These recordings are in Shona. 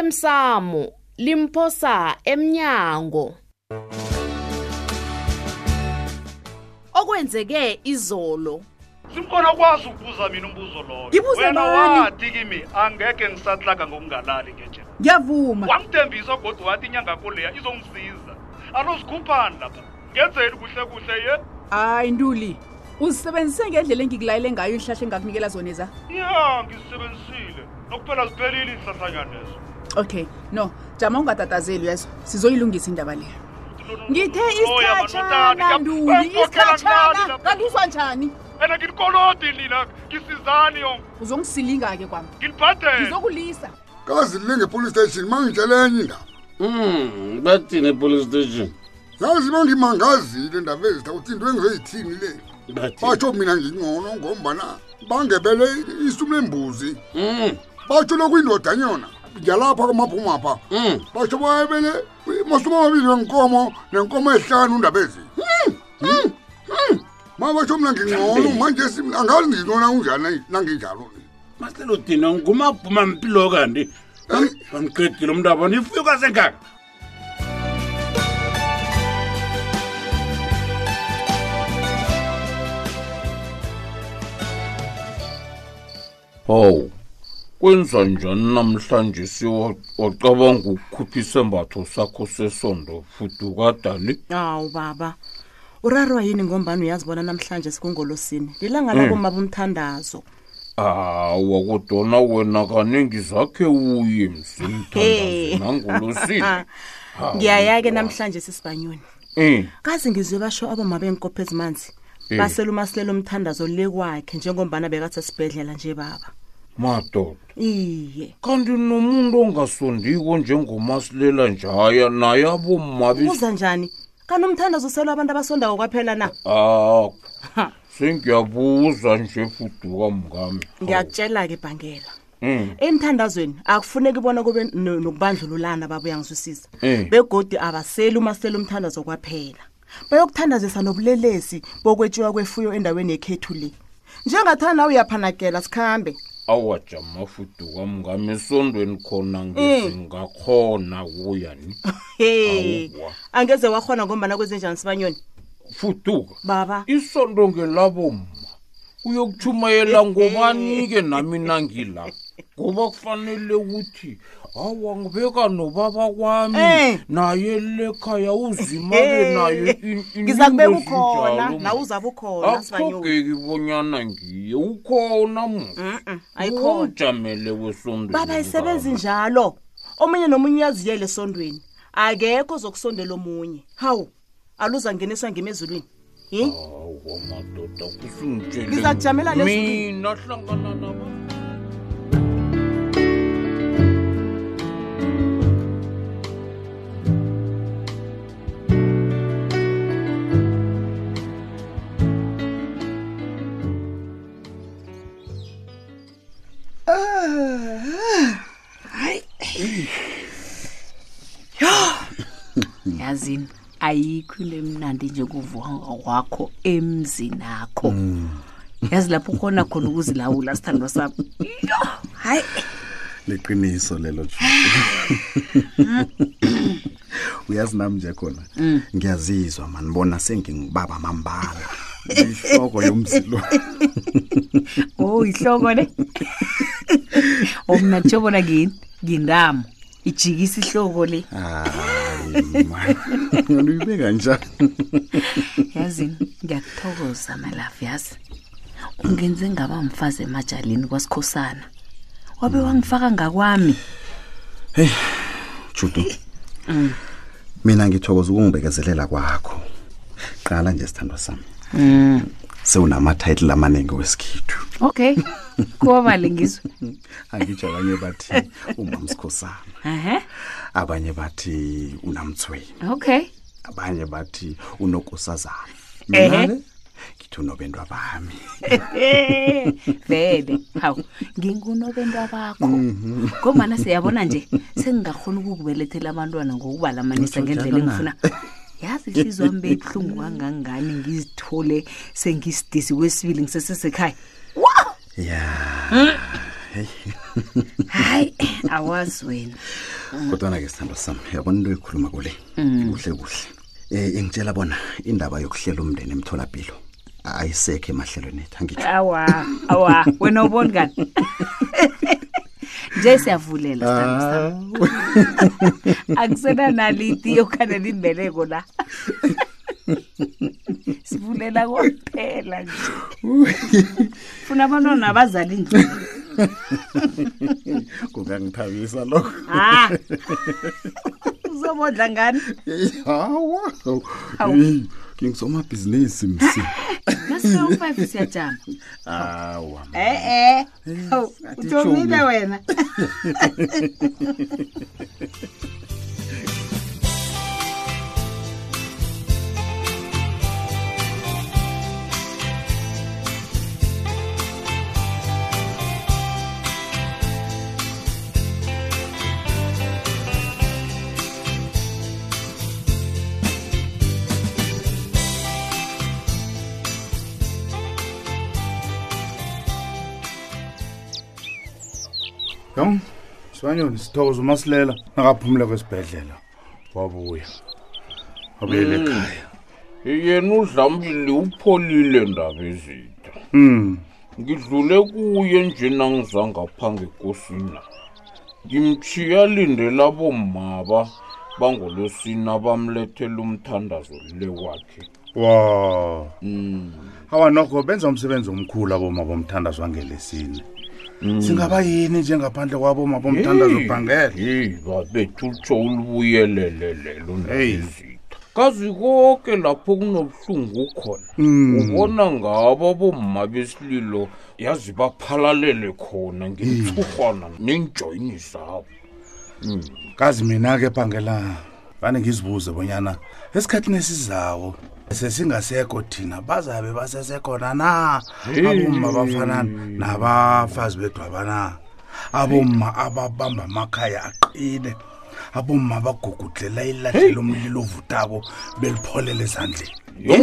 osemsamo limphosa emnyango okwenzeke izolo simkhona kwazi ukubuza mina umbuzo loyo Ngibuze wena nani? wathi kimi angekhe ngisahlaga ngokungalali ngenje ngiyavuma wangithembisa godwa wathi inyanga kuleya izongisiza alo sikhuphani lapha ngenzeni kuhle kuhle ye hayi ntuli uzisebenzise ngendlela engikulayele ngayo ihlahla engakunikela zona za ya ngizisebenzisile nokuphela ziphelile izihlahlanyanezo okay no jama ungatatazeli yezo sizoyilungisa indaba leyo ngithe isikhatshana ntuli isikhatshana kanti uswa njani and nginikolodi nina ngisizani yo uzongisilinga-ke kwami nginibhadele ngizokulisa kazilinge epolice station mangitshele enye indaba 음, Mm, bathini epolice station yazi bangimangazile indaba ezitha ukuthi into engizoyithini le bathi batsho mina ngingcono ngombana bangebele isumu lembuzi Mm, 음. batsho lokuyindodanyona njalapha kwamaphumapha mm. batsho bayebele masumi amabili wenkomo nenkomo ehlanu indaba ezi ma batsho mina ngingcono manje sim- angazi ngingcono unjani nanginjalo maselo dina ngumabhuma mpilo kanti 그 andiqedile umntaba ndifika sengaka hawu kwenza njani namhlanje siwacabanga ukukhupha isembatho sakho sesondo futhi kadani awu baba urarwa yini ngombani uyazibona namhlanje sikungolosini lilanga labomaba umthandazo awa kodwana wena kaningi zakhe uye He. msimthandazenangolosini ngiyaya-ke namhlanje sisibanyoni um kazi ngizwe basho aboma beenkopho ezimanzi basela umasilela umthandazo le kwakhe njengombana bekathi esibhedlela nje baba madoda iye kanti nomuntu ongasondiko njengomasilela njaya naye abomabi uza njani kanti umthandazo uselwa abantu abasondako kwaphela na akho Ha. sengiyabuza nje fuduka mngami ngiyakutshela-ke bhangela um emthandazweni akufuneki bona kube no- nokubandlululana baba uyangizwisisa Eh. begodi abaseli umaseli umthandazo kwaphela bayokuthandazisa nobulelesi bokwetshiwa kwefuyo endaweni yekhethu le njengathana uyaphanakela sikhambe awajama fuduka mngami esondweni Hmm. khona ngizingakhona kuyani he Awuwa. angeze warhona ngombana kwezenjani sibanyoni fuduka baba isondo ngelabomma uyokutshumayela ngobani-ke nami nangila ngoba kufanele ukuthi hawa ngibeka nobaba Eh. kwami naye lekhaya uzimake naye in- in- ngiza kubeka into ukhona ezinjalo. naw uzabe ukhona sibanyoni akhogeki bonyana ngiye ukhona mu Mm-mm, Mm, ayikhona ujamele wesondweni baba ayisebenzi njalo omunye nomunye uyaziyela esondweni akekho ozokusondela omunye hawu aluza ngeniswa ngima ezulwini yi awa madoda kusungitshele Ngizakujamela lesi- mina hlangana nabo yazini ayikho into emnandi njengovuka kwakho emzini akho yazi lapho ukhona khona ukuzilawula sithandwa sami Yo, hayi liqiniso lelo Ju. uyazi nami nje khona ngiyazizwa manibona sengingubaba mambala ihloko yomzilo o yihloko ne omna tsho Oh, bona ngini ngindamo ijikisa ihloko le hayi man wena uyibeka njani yazini ngiyakuthokoza malafu yazi ungenze ngaba mfazi emajalini kwasikhosana wabe wangifaka ngakwami judu mina ngithokoza ukungibekezelela kwakho qala nje sithandwa sami sewunamathayitile amaningi wesikhethu okay kuwabale ngizwe angitsho abanye bathi umamsikhosana ehe abanye bathi unamthweni okay abanye bathi unokusazana mina-ke ngithi unobendwa bami Eh, vele hawu ngingunobentwa bakho ngomana siyabona nje sengingakhona ukukubelethela abantwana ngokubalamanisa ngendlela engifuna yazi ihlizwa mbe ibuhlungu kangangani ngizithole sengisidisi kwesibili ngisesesekhaya ya hayi awazi wena kodwana-ke sithando sam yabona into ekhuluma kule kuhle kuhle um ingitshela bona indaba yokuhlela umndeni emtholapilo ayisekho emahlelweni ethu angitsho awa awa wena uboni kani nje siyavulela sithandwa sami. akusenanaliti yokhanela imbeleko la sivulela kwaphela nje funa abantwana abazali nje kungangithabisa lokho ha uzobodla ngani hawa Hawu. ngingizomabhizinisi msi nasiyo-five siyajama hawa e-e Hawu, ujomile wena yo sibanyoni sithokoza umasilela nakaphumula kwesibhedlela wabuya wabuyela ekhaya yena udlamlile upholile ndaba ezitha um ngidlule kuye njenangizangaphange ekosina ngimtshiya lindela bomaba bangolosina bamlethela umthandazo le wakhe wa Mm. hawa nokho benza umsebenzi omkhulu aboma bomthandazo wangelesine singaba yini njengaphandle kwaboma 예. bomthandazo Hey, bhangele hey babethu utsho ulubuyelelelelo Hey. nezitha kazi konke lapho kunobuhlungu khona ubona ngabo bomma besililo yazi baphalalele khona ngemtsurhwana neenjoyini zabo kazi mina-ke bhangela fane ngizibuze bonyana esikhathini esizawo sesingasekho thina bazabe basesekhona na aboma abafana nabafazi bedwaba na aboma ababamba amakhaya aqine aboma abagugudlela ilahlela umlilo ovutabo belipholele ezandleni yo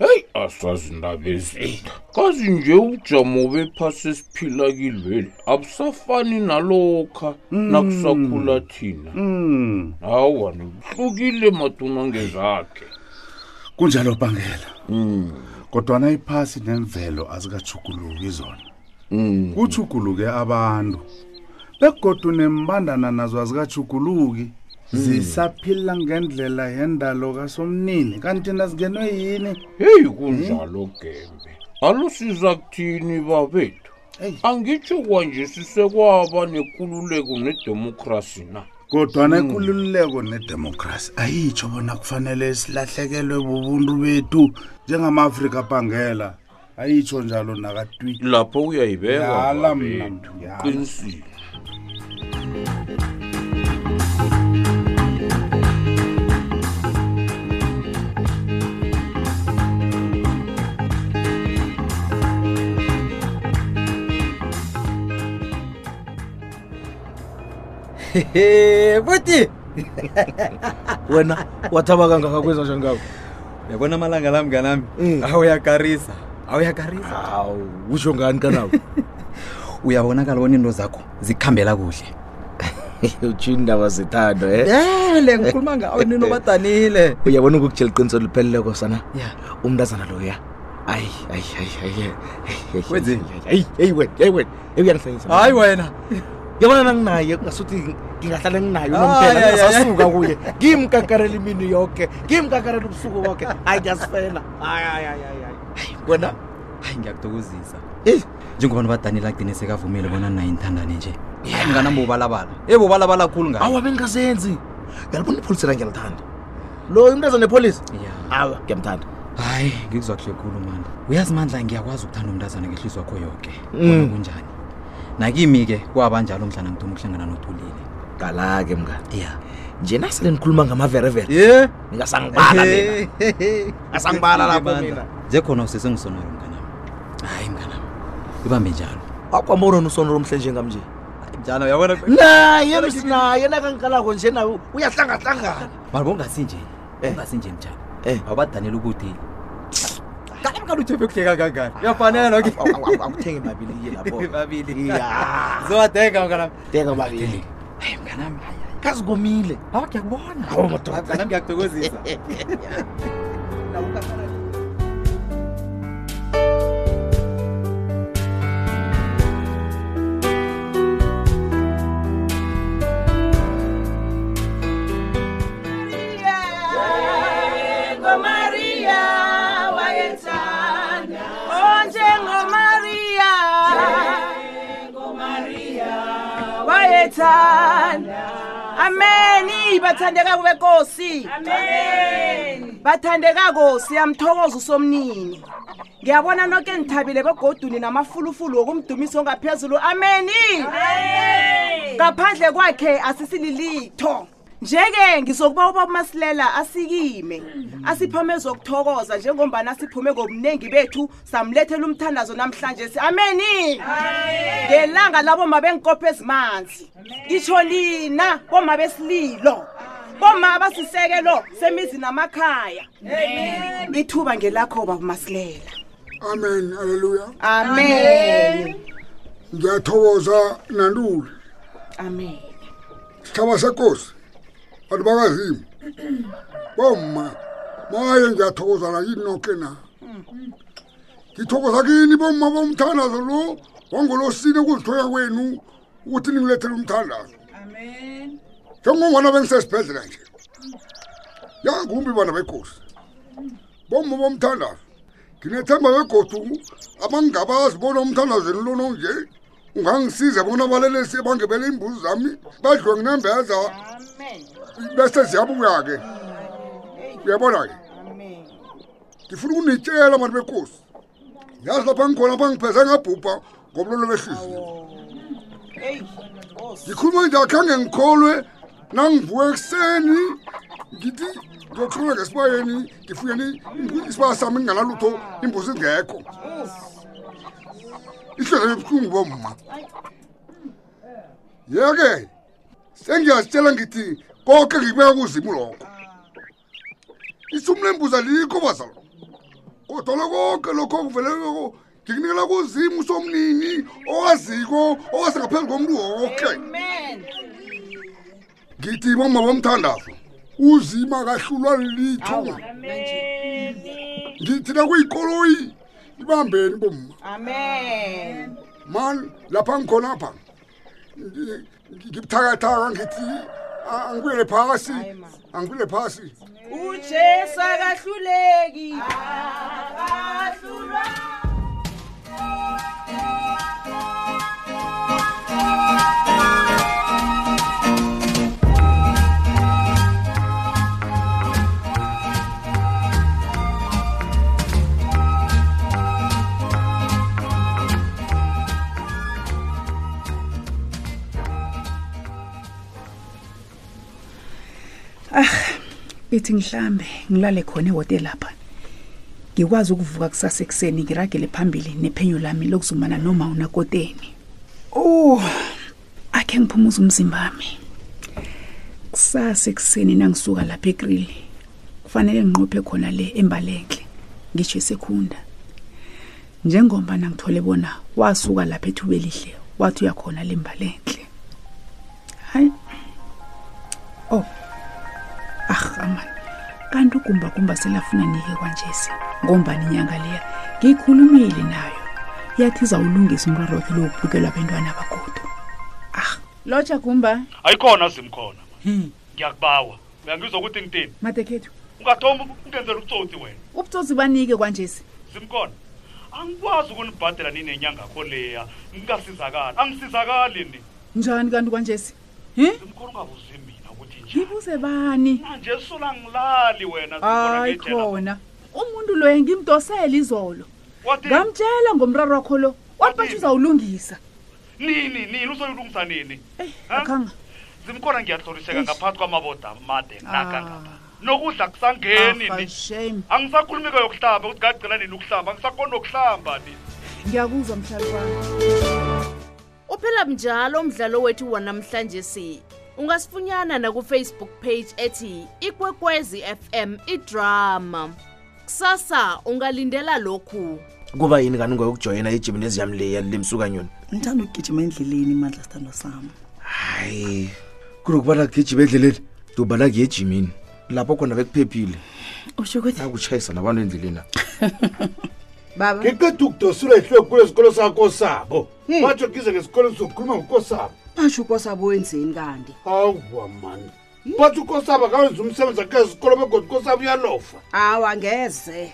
heyi asazi ndaba ezitha kazi nje ubujamo bephasi esiphila kilweli abusafani nalokha nakusakhula thina Mm. hawa nibuhlukile maduna ngezakhe kunjalo bhangela kodwana iphasi nemvelo azikajuguluki zona kujuguluke abantu begodu nembandana nazo azikajuguluki zisaphila ngendlela yendalo kasomnini kanti nazingenwe yini heyi kunjalo gembe alusiza kuthini babethu Hey. angitsho kwanje sisekwaba nekululeko nedemokhrasi na kodwana ikulululeko nedemokrasi ayitsho bona kufanele silahlekelwe bubuntu bethu njengama-afrika bhangela ayitsho njalo nakatwi lapho uyayibeka Yala mna, babethu yala. qinisile buti wena wathaba kangaka kwenza njani ngako yabona amalanga la mnganami awuyakarisa awuyakarisa hawu Mm. usho ngani kanawo uyabonakala bona into zakho zikuhambela kuhle utshini ndaba zithando e ele Eh, ngikhuluma ngawe nino badanile uyabona ukukutshela iqiniso lipheleleko sana ya umntazana loya ayi ayi ayi ayi ayi, ayi, Wenzeni? ayi, ayi ayi wena ayi wena euyangihlayisa hayi wena yabona nanginaye kungasuthi ngingahlala nginayo Ah, nomphela ya, ya, ya. ngingasuka kuye ngimkakarela imini yonke ngimkakarela ubusuku bonke hayi ngiyasifela hayi hayi hayi hayi, hayi wena hayi ngiyakuthokozisa Eh. njengoba nobadanile agcine sekavumile bona naye nithandane nje hayi mnganami ubalabala e ubalabala khulu ngayo awa bengazenzi ngiyalibona ipholisi la ngiyalithanda lo imntazana nepolisi ya awa ngiyamthanda hayi ngikuzwa kuhle khulu mandla uyazi mandla ngiyakwazi ukuthanda umntazana ngehlizwa kho yoke Mm. bona kunjani nakimi-ke kwabanjalo mhlana ngiduma ukuhlangana nothulile qala-ke mngani ya nje nasele nikhuluma ngamaverevere ye ningasangibala mina ngasangibala lapho mina nje khona usesengisonoro mnganami hayi mnganami ibambe njalo akwambona unosonolo omhle njengamnje njalo uyabona naye msinaye nakangikalako nje nawe uyahlangahlangana mara kungasinje Eh. kungasinje mjalo Eh. awubadanele ukuthi kani utsheve kuhleka kangani uyafanelwa ke awuthenge mabiliye babili Ya. zowadeka mnganam deka mabiliye mnganami kazi komile hawu ngiyakubona hawu madoda ngiyakuthokozisa ngomaria wayethanda onjengomaria bayethanda ameni bathandeka kube kosi bathandeka kosi yamthokoza usomnini ngiyabona noke nithabile begoduni namafulufulu wokumdumiso ongaphezulu ameni ngaphandle kwakhe asisililitho nje-ke ngizokuba uba umasilela asikime asiphume ezokuthokoza njengombana siphume ngobuningi bethu samlethela umthandazo namhlanje si ameni ngelanga laboma benkopho ezimanzi ngitsho nina boma besililo boma abasisekelo semizi namakhaya ithuba ngelakho baba masilela amen aleluya amen ngiyathokoza nantuli amen sithaba sekosi bantu bakazima bomma maye ngiyathokoza nakini noke na ngithokoza kini bomma bomthandazo lo wangolosini ukuzithoya kwenu ukuthi ningilethele umthandazo njengongona bengisesibhedlela nje yangumbi bana bekosi bomma bomthandazo nginethemba begodu abangingabazi bona umthandazweni lono nje ungangisiza bona abalelesi ebangebele imbuzi zami badliwe nginembeza bese ziyabuya-ke uyabona-ke ngifuna ukunitshela bantu bekosi yazi lapha ngikhona bangipheze ngabhubha ngomlolo behliziyo ngikhuluma nje akhange ngikholwe nangivuke ekuseni ngithi ngiyothula ngesibayeni ngifuyeni isibaya sami nginganalutho imbuzi ngekho ihlozo ebuhlungu bomma yeke sengiyazitshela ngithi konke ngikubeka kuzimu lokho isumu lembuzi alikho bazalo kodwa lokonke lokho kuveleleko ngikunikela kuzimu somnini owaziko owasengaphezu komuntu woke ngithi bomma bomthandazo uzima kahlulwa litho ngithi nakuyikoloyi ibambeni bomma amen man lapha ngikhona pha ngi- ngibuthakathaka ngithi a- angibuyele phasi angibuyele phasi ujesu akahluleki ithi ngihlambe ngilale khona ehotela lapha ngikwazi ukuvuka kusasa ekuseni ngiragele phambili nephenyo lami lokuzumana noma unakoteni oh akhe ngiphumuze umzimbami kusasa ekuseni nangisuka lapha egrili kufanele nginqophe khona le embalenhle ngisho esekhunda njengoba nangithole bona wasuka lapha ethuba elihle wathi uyakhona le mbalenhle hayi oh ahamani Ah, kanti ugumbagumba selafuna nike kwanjesi ngombani inyanga leya ngiyikhulumile nayo yathi izawulungisa umrorotho lowubhukelwa abentwana abagodo ah lotsha gumba ayikhona zimkhona Hmm. ngiyakubawa uyangizwa ukuthi ngitini madekhethu ungathoma ungenzela ubutsotsi wena ubutsotsi banike kwanjesi zimkhona angikwazi ukunibhadela nini nenyanga akho leya ngingasizakali angisizakali ni njani kanti kwanjesi hi mkhona ungabuzi mina ukuthi ngibuze bani nje solangilali wena Zimkhona, hayi ngiyetjela. khona umuntu loye ngimdosele izolo ngamtshela ngomraro wakho lo wathi bathi uzawulungisa nini nini uzoyilungisa nini akhanga zimkhona ngiyahloliseka ngaphakathi kwamaboda amade Ah. nakangapha nokudla kusangeni ni angisakhulumi-ke yokuhlamba ukuthi ngagcina nini ukuhlamba angisakhona nokuhlamba ni ngiyakuzwa mhlali wami uphela mnjalo umdlalo wethu wanamhlanje si ungasifunyana nakufacebook page ethi ikwekwezi fm idrama kusasa ungalindela lokhu kuba yini kani ngoyokujoyina ijimnezi yam le yalimsukanyoni ngithanda ukugijima endleleni mandla sithando sami hayi kunokubana kugijima endleleni ndobana kuye ejimini lapho khona bekuphephile usho ukuthi akutshayisa nabantu endleleni apha baba ngiqeda ukudosula ihlo kulo sikolo sakho sabo Hmm. batsho kize ngesikolo sokukhuluma ngukosabo basho ukosabo wenzeni kanti hawa mani batsho ukosabo akawenza umsebenzi akhe esikolo begodwa ukosabo uyalofa hawu angeze